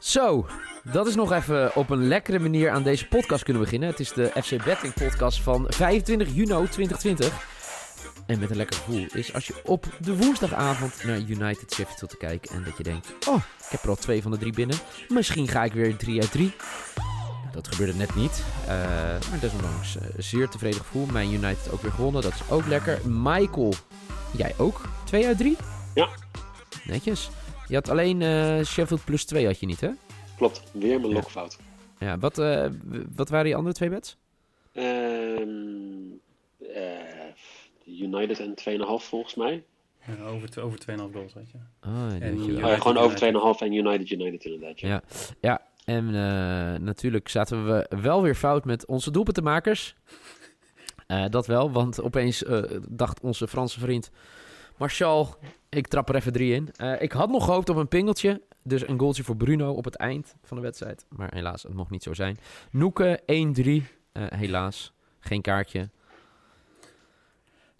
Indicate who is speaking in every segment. Speaker 1: Zo, dat is nog even op een lekkere manier aan deze podcast kunnen beginnen. Het is de FC Betting podcast van 25 juni 2020. En met een lekker gevoel is als je op de woensdagavond naar United Sheffield te kijken en dat je denkt, oh, ik heb er al twee van de drie binnen. Misschien ga ik weer 3 uit 3. Dat gebeurde net niet, Eh, maar desondanks eh, zeer tevreden gevoel. Mijn United ook weer gewonnen, dat is ook lekker. Michael, jij ook? 2 uit 3?
Speaker 2: Ja.
Speaker 1: Netjes. Je had alleen eh, Sheffield plus 2 had je niet, hè?
Speaker 2: Klopt, weer mijn
Speaker 1: Ja.
Speaker 2: lokfout.
Speaker 1: Ja, wat, eh, w- wat waren die andere twee bets?
Speaker 2: Ehm, eh, United en 2,5 volgens mij.
Speaker 3: Ja, over, t- over 2,5 goals, weet je.
Speaker 1: Ah,
Speaker 3: En
Speaker 1: ja.
Speaker 3: ja.
Speaker 2: Oh ja, gewoon
Speaker 3: United.
Speaker 2: over 2,5 en United United inderdaad. Ja.
Speaker 1: Ja. En eh, natuurlijk zaten we wel weer fout met onze doelpuntenmakers. Eh, dat wel, want opeens eh, dacht onze Franse vriend Martial, ik trap er even drie in. Eh, ik had nog gehoopt op een pingeltje, dus een goaltje voor Bruno op het eind van de wedstrijd. Maar helaas, het mocht niet zo zijn. Noeke 1-3, Eh, helaas. Geen kaartje.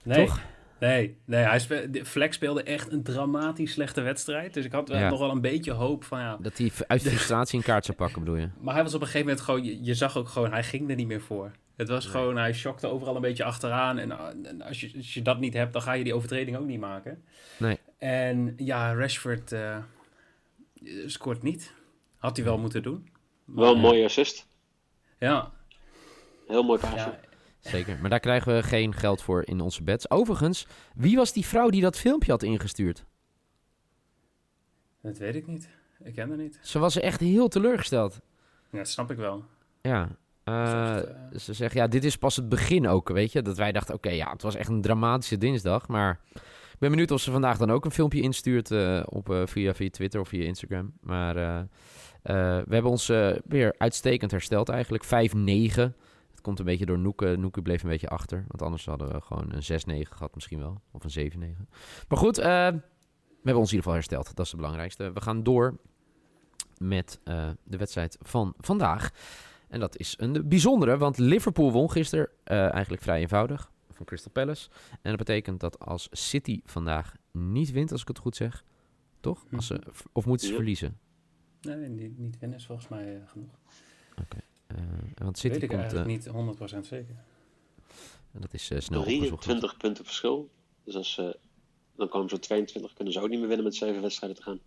Speaker 3: Nee,
Speaker 1: Toch?
Speaker 3: nee, nee hij spe- de- Fleck speelde echt een dramatisch slechte wedstrijd. Dus ik had wel
Speaker 1: Ja.
Speaker 3: nog wel een beetje hoop van ja.
Speaker 1: Dat hij uit frustratie een kaart zou pakken, bedoel je?
Speaker 3: Maar hij was op een gegeven moment gewoon, je, je zag ook gewoon, hij ging er niet meer voor. Het was gewoon, hij shockte overal een beetje achteraan. En, ah, en als, je, als je dat niet hebt, dan ga je die overtreding ook niet maken.
Speaker 1: Nee.
Speaker 3: En ja, Rashford eh, eh, scoort niet. Had hij wel moeten doen.
Speaker 2: Wel een mooie assist.
Speaker 3: Ja,
Speaker 2: Heel mooi paasje.
Speaker 3: ja
Speaker 1: Zeker, maar daar krijgen we geen geld voor in onze bets. Overigens, wie was die vrouw die dat filmpje had ingestuurd?
Speaker 3: dat weet ik niet. Ik ken haar niet.
Speaker 1: Ze was echt heel teleurgesteld.
Speaker 3: Ja, dat snap ik wel.
Speaker 1: Ja, eh,
Speaker 3: Dat is echt,
Speaker 1: ze zegt, ja, dit is pas het begin ook, weet je. Dat wij dachten, oké, ja, het was echt een dramatische dinsdag. Maar ik ben benieuwd of ze vandaag dan ook een filmpje instuurt eh, op, eh, via, via Twitter of via Instagram. Maar eh, eh, we hebben ons eh, weer uitstekend hersteld eigenlijk. 5-9. Het komt een beetje door Noeke. Noeke bleef een beetje achter. Want anders hadden we gewoon een 6-9 gehad misschien wel. Of een 7-9. Maar goed, eh, we hebben ons in ieder geval hersteld. Dat is het belangrijkste. We gaan door met eh, de wedstrijd van vandaag. En dat is een bijzondere, want Liverpool won gisteren eh, eigenlijk vrij eenvoudig van Crystal Palace. En dat betekent dat als City vandaag niet wint, als ik het goed zeg, toch? Als ze,
Speaker 3: Mhm.
Speaker 1: of moeten ze
Speaker 2: Ja.
Speaker 1: verliezen?
Speaker 3: Nee, niet, niet winnen is volgens mij eh, genoeg.
Speaker 1: Eh, want City
Speaker 3: Weet ik
Speaker 1: komt, eh,
Speaker 3: eigenlijk niet 100% zeker.
Speaker 1: dat is eh, snel opgezocht.
Speaker 2: 23 punten verschil. Dus als ze, dan komen ze op 22, kunnen ze ook niet meer winnen met 7 wedstrijden te gaan.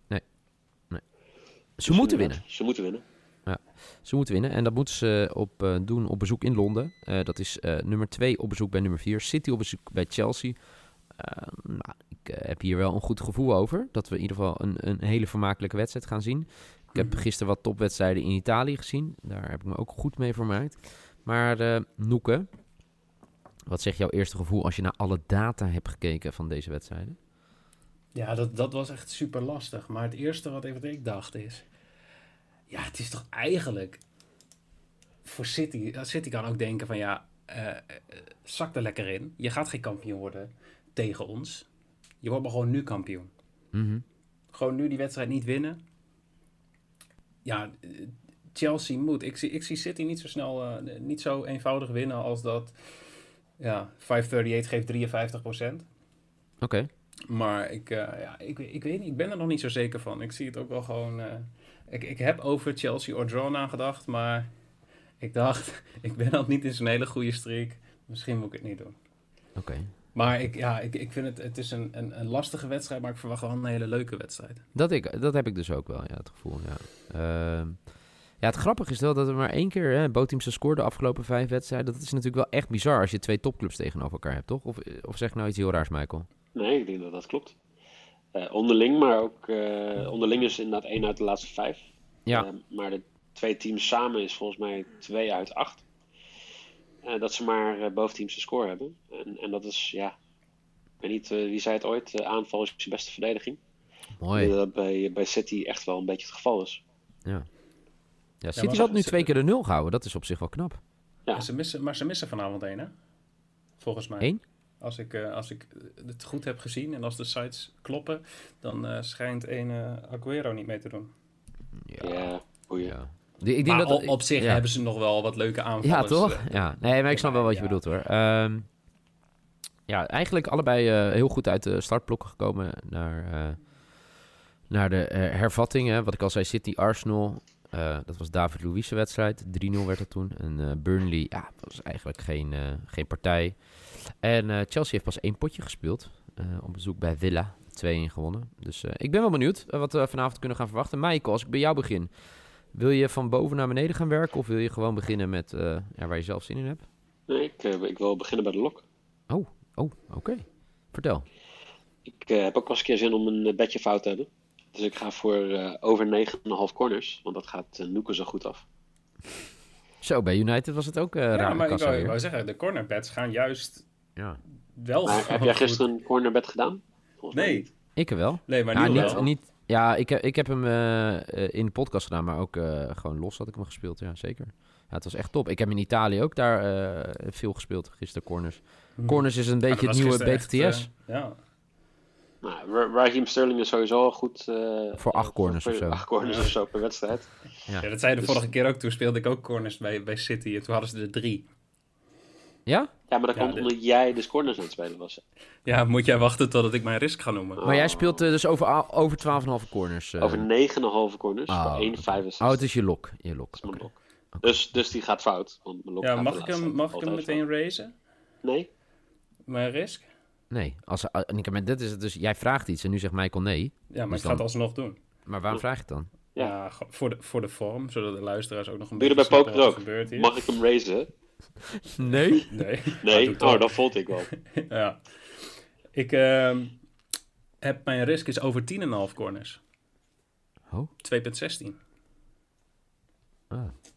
Speaker 1: Ze
Speaker 2: Dus
Speaker 1: moeten
Speaker 2: inderdaad,
Speaker 1: winnen.
Speaker 2: Ze moeten winnen.
Speaker 1: Ze moeten winnen. En dat moeten ze op, eh, doen op bezoek in Londen. Eh, dat is eh, nummer 2 op bezoek bij nummer 4. City op bezoek bij Chelsea. Eh, nou, ik eh, heb hier wel een goed gevoel over. Dat we in ieder geval een, een hele vermakelijke wedstrijd gaan zien. Ik heb
Speaker 3: Mhm.
Speaker 1: gisteren wat topwedstrijden in Italië gezien. Daar heb ik me ook goed mee vermaakt. Maar eh Noeke, wat zegt jouw eerste gevoel als je naar alle data hebt gekeken van deze wedstrijden?
Speaker 3: Ja, dat, dat was echt super lastig. Maar het eerste wat even ik dacht is... Ja, het is toch eigenlijk... Voor City... eh, City kan ook denken van ja... eh, eh, zak er lekker in. Je gaat geen kampioen worden tegen ons. Je wordt maar gewoon nu kampioen.
Speaker 1: Mhm.
Speaker 3: Gewoon nu die wedstrijd niet winnen. Ja, eh, Chelsea moet. Ik zie, ik zie City niet zo snel... eh, niet zo eenvoudig winnen als dat... Ja, 538 geeft 53
Speaker 1: Oké.
Speaker 3: maar ik, eh, ja, ik, ik weet niet, ik ben er nog niet zo zeker van. Ik zie het ook wel gewoon. eh, ik, ik heb over Chelsea or draw nagedacht, maar ik dacht, ik ben al niet in zijn hele goede streak. Misschien moet ik het niet doen.
Speaker 1: Oké.
Speaker 3: Maar ik, ja, ik, ik vind het, het is een, een, een lastige wedstrijd, maar ik verwacht wel een hele leuke wedstrijd.
Speaker 1: Dat, ik, dat heb ik dus ook wel, ja, het gevoel. Ja. Ehm, ja, het grappige is wel dat er maar één keer hè, Boteams heeft gescoord de afgelopen vijf wedstrijden. Dat is natuurlijk wel echt bizar als je twee topclubs tegenover elkaar hebt, toch? Of, of zeg ik nou iets heel raars, Michael?
Speaker 2: Nee, ik denk dat dat klopt. eh, onderling, maar ook eh, onderling is inderdaad één uit de laatste vijf.
Speaker 1: Ja.
Speaker 2: Eh, maar de twee teams samen is volgens mij twee uit acht. Eh, dat ze maar eh, boven teams een score hebben. En, en dat is, ja, ik weet niet, eh, wie zei het ooit, eh, aanval is je beste verdediging. Ik
Speaker 1: Mooi.
Speaker 2: denk Dat dat bij, bij City echt wel een beetje het geval is.
Speaker 1: Ja,
Speaker 3: maar eh,
Speaker 1: City
Speaker 3: ze-
Speaker 1: had nu
Speaker 3: ze-
Speaker 1: twee keer de nul gehouden. Dat is op zich wel knap.
Speaker 2: Ja.
Speaker 3: Ze missen, maar ze missen vanavond één, hè? Volgens mij.
Speaker 1: Eén?
Speaker 3: Als ik, eh, als ik eh, het goed heb gezien en als de sites kloppen, dan eh, schijnt één eh, Aguero niet mee te doen.
Speaker 2: Ja, boeien.
Speaker 1: Ja. Die- ik
Speaker 3: maar
Speaker 1: denk dat,
Speaker 3: op, op zich
Speaker 1: ja.
Speaker 3: hebben ze nog wel wat leuke aanvallen.
Speaker 1: Ja, toch? Ja. Nee, maar ik snap wel wat je
Speaker 3: eh, Ja.
Speaker 1: bedoelt hoor. Ehm, ja, eigenlijk allebei eh, heel goed uit de startblokken gekomen naar, eh, naar de eh, hervattingen. Wat ik al zei, City Arsenal. eh, dat was David Luiz' wedstrijd. 3-0 werd dat toen. En eh, Burnley, ja, dat was eigenlijk geen, eh, geen partij. En eh, Chelsea heeft pas één potje gespeeld. eh, op bezoek bij Villa. 2-1 gewonnen. Dus eh, ik ben wel benieuwd eh, wat we vanavond kunnen gaan verwachten. Michael, als ik bij jou begin. Wil je van boven naar beneden gaan werken of wil je gewoon beginnen met eh, ja, waar je zelf zin in hebt?
Speaker 2: Nee, ik, eh, ik wil beginnen bij de lok.
Speaker 1: Oh, oké. Vertel.
Speaker 2: Ik eh, heb ook wel eens een keer zin om een eh, bedje fout te hebben. Dus ik ga voor eh, over 9,5 corners, want dat gaat eh, Noeken zo goed af.
Speaker 1: Zo, bij United was het ook eh
Speaker 3: Ja,
Speaker 1: raar.
Speaker 3: maar ik wou, ik wou zeggen, de cornerbeds gaan juist
Speaker 1: Ja.
Speaker 3: wel
Speaker 2: Maar
Speaker 3: gewoon
Speaker 2: heb jij
Speaker 3: goed.
Speaker 2: gisteren een cornerbed gedaan? Volgens mij
Speaker 3: Oh. Nee,
Speaker 2: niet.
Speaker 1: Ik er wel.
Speaker 3: nee maar
Speaker 1: ja,
Speaker 3: nu
Speaker 1: niet,
Speaker 3: wel.
Speaker 1: niet, ja ik, heb- ik heb hem eh, eh, in de podcast gedaan, maar ook eh, gewoon los had ik hem gespeeld. Ja, zeker. Ja, het was echt top. Ik heb in Italië ook daar eh, veel gespeeld, gisteren corners. Corners is een
Speaker 3: Hm. Ja,
Speaker 1: beetje
Speaker 3: dat
Speaker 1: het
Speaker 3: was
Speaker 1: nieuwe
Speaker 3: gisteren echt,
Speaker 1: BTTS.
Speaker 3: eh, ja.
Speaker 2: Nou, Ra- Raheem Sterling is sowieso al goed. eh,
Speaker 1: Voor acht
Speaker 2: eh,
Speaker 1: corners
Speaker 2: voor
Speaker 1: of zo.
Speaker 2: Acht corners of zo per wedstrijd.
Speaker 3: ja, dat zei je de
Speaker 2: Dus-
Speaker 3: vorige keer ook. Toen speelde ik ook corners bij, bij City en toen hadden ze er drie.
Speaker 1: Ja?
Speaker 2: Ja, maar dat
Speaker 3: Ja,
Speaker 2: komt
Speaker 3: dit-
Speaker 2: omdat jij dus corners aan het spelen was.
Speaker 3: Ja, moet jij wachten totdat ik mijn risk ga noemen?
Speaker 1: Maar jij speelt eh, dus over, a- over 12,5 corners. eh.
Speaker 2: Over 9,5 corners
Speaker 1: Oh,
Speaker 2: voor 1,65.
Speaker 1: Oh, het is je lok. Je lok.
Speaker 2: mijn
Speaker 1: oké.
Speaker 2: lok. Dus, dus die gaat fout. Want mijn lok
Speaker 3: Ja,
Speaker 2: gaat
Speaker 3: mag
Speaker 2: de
Speaker 3: ik
Speaker 2: laatste
Speaker 3: hem, mag ik hem
Speaker 2: altijd
Speaker 3: meteen raisen?
Speaker 2: fout. Nee?
Speaker 3: Mijn risk?
Speaker 1: Nee, als, ah, Nieke, maar dit is het dus. Jij vraagt iets en nu zegt Michael nee.
Speaker 3: Ja, maar
Speaker 1: Dus
Speaker 3: ik ga het
Speaker 1: dan-
Speaker 3: alsnog doen.
Speaker 1: Maar waarom vraag je het dan?
Speaker 2: Ja.
Speaker 3: Ja, go- voor, de, voor de vorm, zodat de luisteraars ook nog een
Speaker 2: Doe je
Speaker 3: beetje
Speaker 2: dat bij
Speaker 3: snappen
Speaker 2: poker
Speaker 3: wat er
Speaker 2: ook?
Speaker 3: gebeurt hier.
Speaker 2: Mag ik hem raisen?
Speaker 1: Nee.
Speaker 3: Nee.
Speaker 2: Nee?
Speaker 3: doe het
Speaker 2: oh,
Speaker 3: ook.
Speaker 2: dat vond ik
Speaker 3: Dus
Speaker 2: wel.
Speaker 3: ja. Ik ehm, heb mijn risk is over 10,5 corners.
Speaker 1: Oh.
Speaker 3: 2,16.
Speaker 1: Ah.
Speaker 2: Ik
Speaker 3: Dus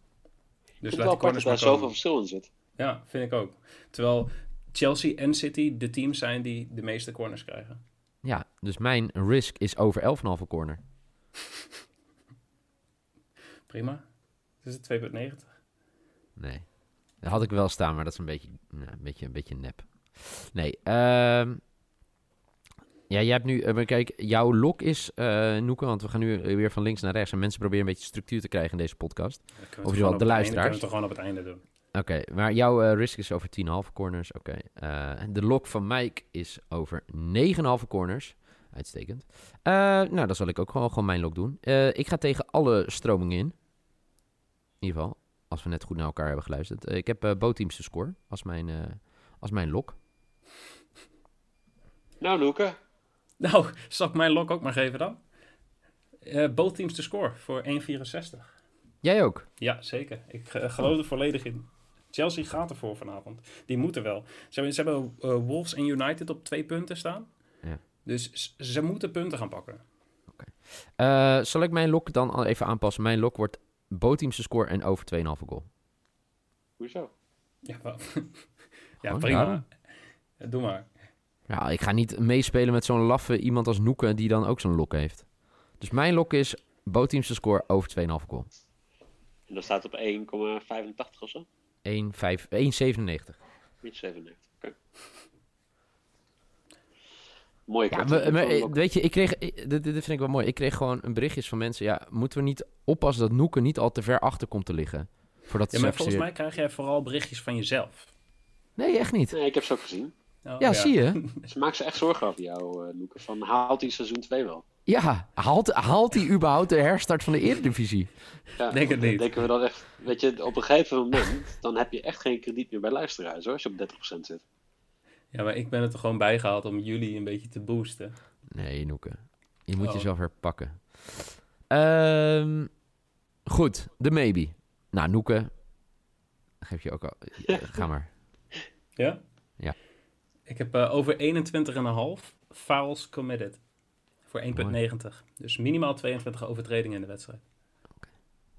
Speaker 2: vind
Speaker 3: laat
Speaker 2: wel
Speaker 3: die
Speaker 2: apart dat
Speaker 3: corners maar
Speaker 2: daar
Speaker 3: komen.
Speaker 2: zoveel verschil in zit.
Speaker 3: Ja, vind ik ook. Terwijl Chelsea en City de teams zijn die de meeste corners krijgen.
Speaker 1: Ja, dus mijn risk is over 11,5 corner.
Speaker 3: Prima. Dus het 2,90.
Speaker 1: Nee. Dat had ik wel staan, maar dat is een beetje, nou, een beetje, een beetje nep. Nee. ehm, ja, jij hebt nu... eh, maar kijk, jouw lok is, eh Noeke, want we gaan nu weer van links naar rechts. En mensen proberen een beetje structuur te krijgen in deze podcast.
Speaker 3: Dan kunnen we het
Speaker 1: Of je
Speaker 3: gewoon
Speaker 1: wel,
Speaker 3: op
Speaker 1: de
Speaker 3: het einde-
Speaker 1: luisteraars.
Speaker 3: kunnen we het gewoon op het einde doen.
Speaker 1: Oké, maar jouw eh, risk is over 10,5 corners. Oké. Eh, en de lok van Mike is over 9,5 corners. Uitstekend. Eh, nou, dan zal ik ook gewoon, gewoon mijn lok doen. Eh, ik ga tegen alle stromingen in. In ieder geval, als we net goed naar elkaar hebben geluisterd. Eh, ik heb eh bootteams te score als mijn, eh, als mijn lok.
Speaker 2: Nou, Noeke.
Speaker 3: Nou, zal ik mijn lok ook maar geven dan? Eh both teams te score voor 1,64.
Speaker 1: Jij ook?
Speaker 3: Ja, zeker. Ik eh, geloof er volledig in. Chelsea gaat ervoor vanavond. Die moeten wel. Ze hebben, ze hebben eh, Wolves en United op twee punten staan.
Speaker 1: Ja.
Speaker 3: Dus s- ze moeten punten gaan pakken.
Speaker 1: Eh, zal ik mijn lok dan al even aanpassen? Mijn lok wordt bootteams te score en over 2,5 goal.
Speaker 2: Hoezo?
Speaker 3: Ja, wel. ja
Speaker 1: Gewoon
Speaker 3: prima.
Speaker 1: daarom.
Speaker 3: Ja, Doe maar.
Speaker 1: Ja, ik ga niet meespelen met zo'n laffe iemand als Noeke die dan ook zo'n lok heeft. Dus mijn lok is bootteams te score over 2,5 goal.
Speaker 2: En dat staat op 1,85 of zo?
Speaker 1: 1, 5, 1,97.
Speaker 2: Niet 97. Oké. Mooie
Speaker 1: Ja,
Speaker 2: kaart.
Speaker 1: maar, maar, eh,
Speaker 2: Ook-
Speaker 1: weet je, ik kreeg, ik- dit, dit vind ik wel mooi. Ik kreeg gewoon een berichtjes van mensen. Ja, moeten we niet oppassen dat Noeke niet al te ver achter komt te liggen? Voordat
Speaker 3: Ja,
Speaker 1: ze
Speaker 3: maar
Speaker 1: straks
Speaker 3: volgens
Speaker 1: weer-
Speaker 3: mij krijg jij vooral berichtjes van jezelf.
Speaker 1: Nee, echt niet.
Speaker 2: Nee, ik heb ze ook gezien.
Speaker 3: Oh,
Speaker 1: Ja, zie je?
Speaker 2: Ze maken Dus ze echt zorgen over jou, eh Noeke. Van haalt hij seizoen 2 wel?
Speaker 1: Ja, haalt, haalt hij überhaupt de herstart van de Eredivisie?
Speaker 2: Ja,
Speaker 3: Denk het
Speaker 2: dan
Speaker 3: niet.
Speaker 2: Denken we dan echt, weet je, op een gegeven moment, dan heb je echt geen krediet meer bij luisteraars hoor, als je op 30% zit.
Speaker 3: Ja, maar ik ben het er gewoon bijgehaald om jullie een beetje te boosten.
Speaker 1: Nee, Noeke. Je moet
Speaker 3: Oh.
Speaker 1: jezelf herpakken. Ehm, goed, de maybe. Nou, Noeke. Geef je ook al. eh, Ga maar.
Speaker 3: Ja?
Speaker 1: Ja.
Speaker 3: Ik heb eh, over 21,5 fouls committed. voor 1,90. Dus minimaal 22 overtredingen in de wedstrijd.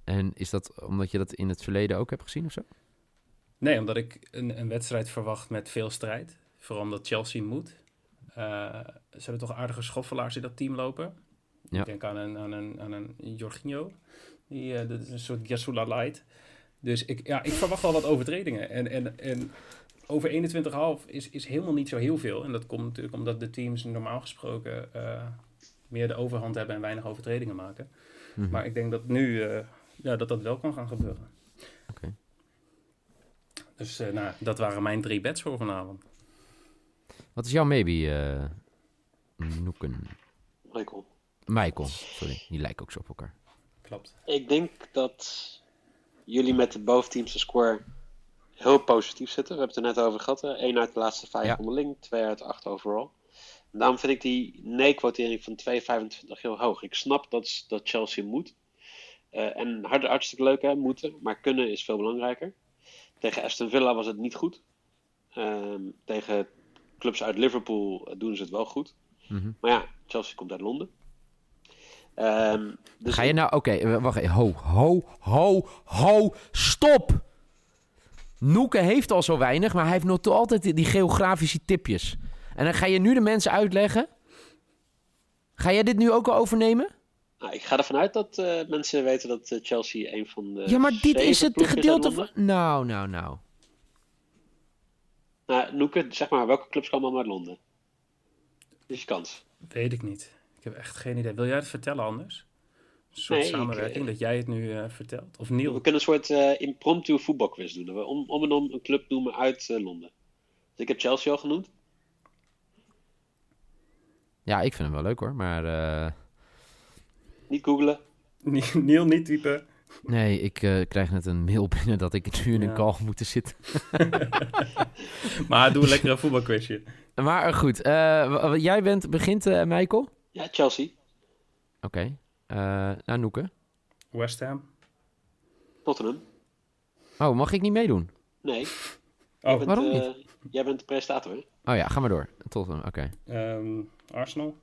Speaker 1: En is dat omdat je dat in het verleden ook hebt gezien of zo?
Speaker 3: Nee, omdat ik een, een wedstrijd verwacht met veel strijd. Vooral omdat Chelsea moet. Eh ze hebben toch aardige schoffelaars in dat team lopen.
Speaker 1: Ja.
Speaker 3: Ik denk aan een, aan een, aan een Jorginho. Die, eh, dat is een soort Yasula Light. Dus ik, ja, ik verwacht al wat overtredingen. En, en, en over 21,5 is, is helemaal niet zo heel veel. En dat komt natuurlijk omdat de teams normaal gesproken eh, meer de overhand hebben en weinig overtredingen maken.
Speaker 1: Mhm.
Speaker 3: Maar ik denk dat nu eh, ja, dat dat wel kan gaan gebeuren.
Speaker 1: Oké.
Speaker 3: Dus eh, nou, dat waren mijn drie bets voor vanavond.
Speaker 1: Wat is jouw maybe, eh Noeken?
Speaker 2: Michael.
Speaker 1: Michael, sorry. Die lijken ook zo op elkaar.
Speaker 3: Klopt.
Speaker 2: Ik denk dat jullie met de boventeamse score heel positief zitten. We hebben het er net over gehad. 1 uit de laatste 5
Speaker 1: Ja.
Speaker 2: onderling, 2 uit 8 overall. En daarom vind ik die nee-quotering van 2,25 heel hoog. Ik snap dat, dat Chelsea moet. Eh, en harde hartstikke leuk hè, moeten, maar kunnen is veel belangrijker. Tegen Aston Villa was het niet goed. Ehm, tegen clubs uit Liverpool eh, doen ze het wel goed.
Speaker 1: Mhm.
Speaker 2: Maar ja, Chelsea komt uit Londen. Ehm, dus
Speaker 1: Ga je nou... Oké, w- wacht even. Ho, ho, ho, ho. Stop! Noeken heeft al zo weinig, maar hij heeft nog toe altijd die, die geografische tipjes. En dan ga je nu de mensen uitleggen... Ga jij dit nu ook al overnemen?
Speaker 2: Nou, ik ga ervan uit dat eh, mensen weten dat eh, Chelsea een van de.
Speaker 1: ja, maar dit
Speaker 2: zeven
Speaker 1: is het
Speaker 2: ploegen uit
Speaker 1: gedeelte van...
Speaker 2: Londen.
Speaker 1: Nou, nou, nou.
Speaker 2: Nou, Noeke, zeg maar, welke clubs komen allemaal uit Londen? Dit is je kans.
Speaker 3: Weet ik niet. Ik heb echt geen idee. Wil jij het vertellen anders? Een soort
Speaker 2: Nee, ik,
Speaker 3: samenwerking
Speaker 2: eh,
Speaker 3: dat jij het nu eh, vertelt? Of
Speaker 2: We
Speaker 3: Neil?
Speaker 2: kunnen een soort eh, impromptu voetbalquiz doen. Dat we om, om en om een club noemen uit eh, Londen. Dus ik heb Chelsea al genoemd.
Speaker 1: Ja, ik vind hem wel leuk hoor, maar... eh,
Speaker 2: Niet googlen.
Speaker 3: Neil niet typen.
Speaker 1: Nee, ik eh, krijg net een mail binnen dat ik nu in een
Speaker 3: Ja.
Speaker 1: call moet zitten.
Speaker 3: Maar doe lekker een voetbalquizje.
Speaker 1: Maar eh, goed, eh, w- w- jij bent, begint, eh, Michael? Oké.
Speaker 2: Ja, Chelsea.
Speaker 1: Eh, nou, Noeke.
Speaker 3: West Ham.
Speaker 2: Tottenham.
Speaker 1: Oh, mag ik niet meedoen?
Speaker 2: Nee.
Speaker 3: Oh,
Speaker 2: Want,
Speaker 1: waarom
Speaker 2: eh,
Speaker 1: niet?
Speaker 2: jij bent de presentator, hè?
Speaker 1: Oh ja, ga maar door. Tot dan, oké.
Speaker 3: ehm, Arsenal.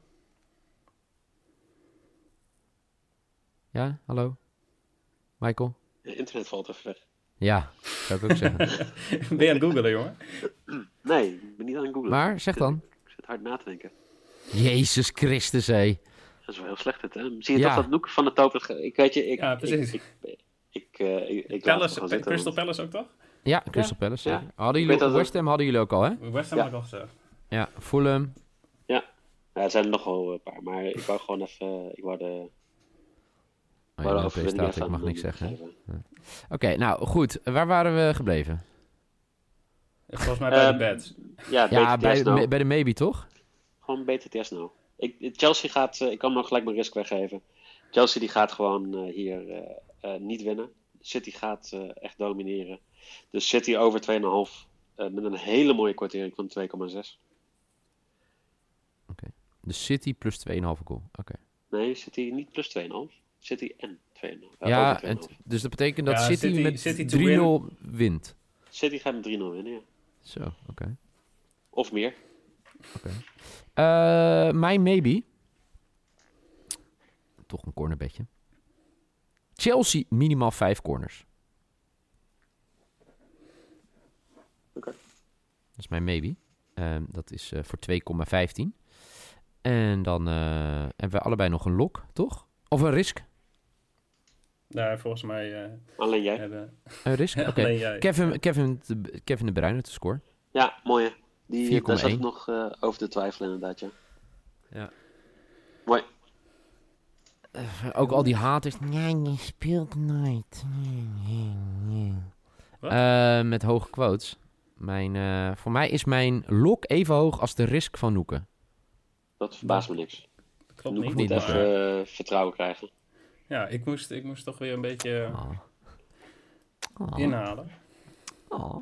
Speaker 1: Ja, hallo? Michael?
Speaker 2: Eh, Internet valt even weg.
Speaker 1: Ja, zou ik ook zeggen.
Speaker 3: ben je aan het googelen, jongen?
Speaker 2: Nee, ik ben niet aan het googlen.
Speaker 1: Maar, zeg dan.
Speaker 2: Ik zit hard na te denken.
Speaker 1: Jezus Christus, hé.
Speaker 2: Dat is wel heel slecht, dit, hè? Zie je
Speaker 1: Ja.
Speaker 2: toch dat Noeke van de Toper... Ik weet je, ik...
Speaker 3: Ja, precies.
Speaker 2: Ik, ik, ik, eh, ik- ik laat het
Speaker 3: Palace,
Speaker 2: gewoon
Speaker 3: Pe-
Speaker 2: zitten,
Speaker 3: Crystal
Speaker 2: want-
Speaker 3: Palace ook toch?
Speaker 1: Ja, Crystal Palace.
Speaker 2: ja.
Speaker 1: zeker. Hadden jullie,
Speaker 2: Ik weet dat
Speaker 1: West Ham hadden jullie ook al, hè?
Speaker 3: West Ham
Speaker 2: Ja.
Speaker 3: ook al gezegd.
Speaker 1: Ja, Fulham. Oh
Speaker 2: Ja, er zijn er nog wel een paar, maar ik wou gewoon even. Ik wou de.
Speaker 1: Oh,
Speaker 2: wou
Speaker 1: ja,
Speaker 2: de
Speaker 1: de
Speaker 2: overwinning
Speaker 1: presentator,
Speaker 2: even
Speaker 1: ik mag
Speaker 2: aan
Speaker 1: niks
Speaker 2: Londen
Speaker 1: zeggen. hè?
Speaker 2: geven.
Speaker 1: Oké, nou goed. Waar waren we gebleven?
Speaker 3: Volgens mij bij
Speaker 2: Ehm,
Speaker 3: de bed.
Speaker 2: Ja,
Speaker 1: Ja,
Speaker 2: BTTS
Speaker 1: bij,
Speaker 2: nou.
Speaker 1: me- bij de maybe, toch?
Speaker 2: Gewoon BTTS nou. Ik, Chelsea gaat. eh, Ik kan nog gelijk mijn risk weggeven. Chelsea die gaat gewoon eh, hier eh, eh, niet winnen. City gaat eh, echt domineren. Dus City over 2,5. eh, met een hele mooie kwartering van 2,6.
Speaker 1: De City plus 2,5 goal. Oké.
Speaker 2: Nee, City niet plus 2,5. City en 2,5. Eh,
Speaker 1: Ja,
Speaker 2: over
Speaker 1: en
Speaker 2: 2,5.
Speaker 1: t- dus dat betekent dat
Speaker 3: Ja,
Speaker 1: City,
Speaker 3: City-
Speaker 1: met
Speaker 3: City to
Speaker 1: 3-0 wint.
Speaker 2: City gaat met 3-0 winnen, ja.
Speaker 1: Zo, oké.
Speaker 2: Of meer.
Speaker 1: Eh, mijn maybe. Toch een cornerbedje. Chelsea minimaal vijf corners.
Speaker 2: Oké.
Speaker 1: Dat is mijn maybe. Ehm, dat is eh, voor 2,15. En dan eh, hebben we allebei nog een lock, toch? Of een risk?
Speaker 3: Daar volgens mij eh,
Speaker 2: Alleen jij.
Speaker 3: hebben...
Speaker 1: Een risk? Oké.
Speaker 3: Alleen jij.
Speaker 1: Kevin, Kevin, de, Kevin de Bruyne te score.
Speaker 2: Ja, mooi. hè. Die, daar zat
Speaker 1: 4,1.
Speaker 2: ik nog eh, over te twijfelen inderdaad, ja.
Speaker 1: Ja.
Speaker 2: Mooi.
Speaker 1: Ook al die haters. Nee, je speelt nooit.
Speaker 3: Wat?
Speaker 1: Eh, met hoge quotes. Mijn, eh, voor mij is mijn lok even hoog als de risk van Noeken.
Speaker 2: Dat verbaast me niks.
Speaker 3: Klopt
Speaker 2: Noek
Speaker 3: niet.
Speaker 2: moet
Speaker 1: niet,
Speaker 3: maar-
Speaker 2: even eh, vertrouwen krijgen.
Speaker 3: Ja, ik moest, ik moest toch weer een beetje eh,
Speaker 2: Ah.
Speaker 1: Oh.
Speaker 4: 哦
Speaker 1: Oh.
Speaker 3: inhalen.
Speaker 1: Oh.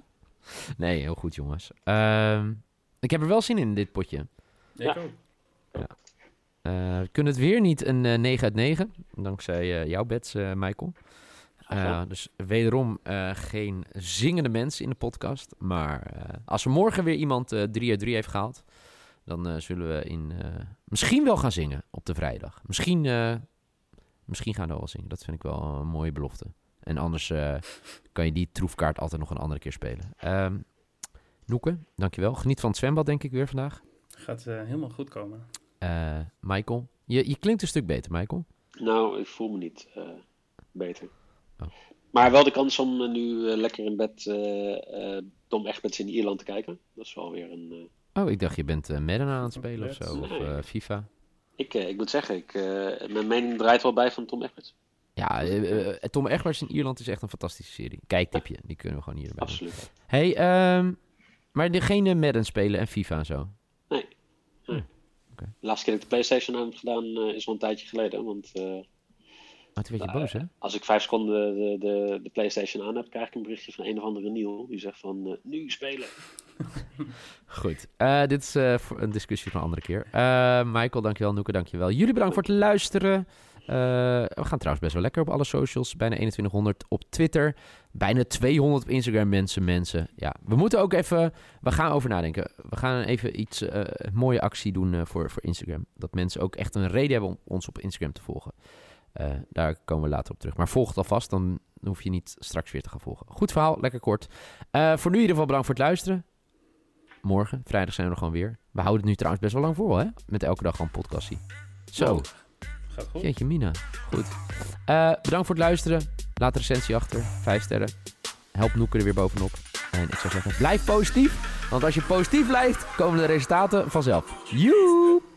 Speaker 1: Nee, heel goed jongens. Ehm, ik heb er wel zin in, dit potje.
Speaker 3: Ik
Speaker 2: Ja.
Speaker 3: ook.
Speaker 1: Eh, we kunnen het weer niet een eh, 9 uit 9, dankzij eh, jouw bets, eh, Michael. Eh,
Speaker 2: gedaan.
Speaker 1: dus wederom eh, geen zingende mensen in de podcast. Maar eh, als er morgen weer iemand eh 3 uit 3 heeft gehaald, Dan eh, zullen we in, eh, misschien wel gaan zingen op de vrijdag. Misschien, eh, misschien gaan we wel zingen. Dat vind ik wel een mooie belofte. En anders eh, kan je die troefkaart altijd nog een andere keer spelen. Ehm Noeke, dankjewel. Geniet van het zwembad, denk ik, weer vandaag.
Speaker 3: Gaat eh, helemaal goed komen.
Speaker 1: Eh, Michael, je, je klinkt een stuk beter, Michael.
Speaker 2: Nou, ik voel me niet eh, beter.
Speaker 1: Oh.
Speaker 2: Maar wel de kans om eh, nu eh, lekker in bed eh eh Tom Egberts in Ierland te kijken. Dat is wel weer een... eh,
Speaker 1: Oh, ik dacht je bent eh Madden aan het spelen of zo, of eh,
Speaker 2: Nee.
Speaker 1: FIFA.
Speaker 2: Ik, eh, ik moet zeggen, ik, eh, mijn mening draait wel bij van Tom Egberts.
Speaker 1: Ja, eh, eh, Tom Egberts in Ierland is echt een fantastische serie. Kijktipje, die kunnen we gewoon hierbij doen.
Speaker 2: Absoluut.
Speaker 1: Hey, ehm, maar de- geen eh, Madden spelen en FIFA en zo.
Speaker 2: Nee. nee.
Speaker 1: oké.
Speaker 2: De laatste keer dat ik de PlayStation aan heb gedaan eh, is al een tijdje geleden. Want eh,
Speaker 1: Maar toen werd je boos, hè?
Speaker 2: als ik vijf seconden de, de, de PlayStation aan heb, krijg ik een berichtje van een of andere Neil. Die zegt van, eh, nu spelen.
Speaker 1: Goed, eh, dit is eh, voor een discussie van een andere keer. Eh, Michael, dankjewel. Noeke, dankjewel. Jullie bedankt voor het luisteren. Eh, we gaan trouwens best wel lekker op alle socials. Bijna 2100 op Twitter. Bijna 200 op Instagram, mensen, mensen. Ja, we moeten ook even... We gaan over nadenken. We gaan even iets... eh, een mooie actie doen eh, voor, voor Instagram. Dat mensen ook echt een reden hebben om ons op Instagram te volgen. Eh, daar komen we later op terug. Maar volg het alvast, dan hoef je niet straks weer te gaan volgen. Goed verhaal, lekker kort. Eh, voor nu in ieder geval bedankt voor het luisteren morgen, vrijdag zijn we er gewoon weer. We houden het nu trouwens best wel lang vol, hè? Met elke dag gewoon een podcastie. Zo,
Speaker 3: Gaat goed.
Speaker 1: jeetje mina. Goed. Eh, bedankt voor het luisteren. Laat een recensie achter. Vijf sterren. Help Noeken er weer bovenop. En ik zou zeggen, blijf positief. Want als je positief blijft, komen de resultaten vanzelf. Joep!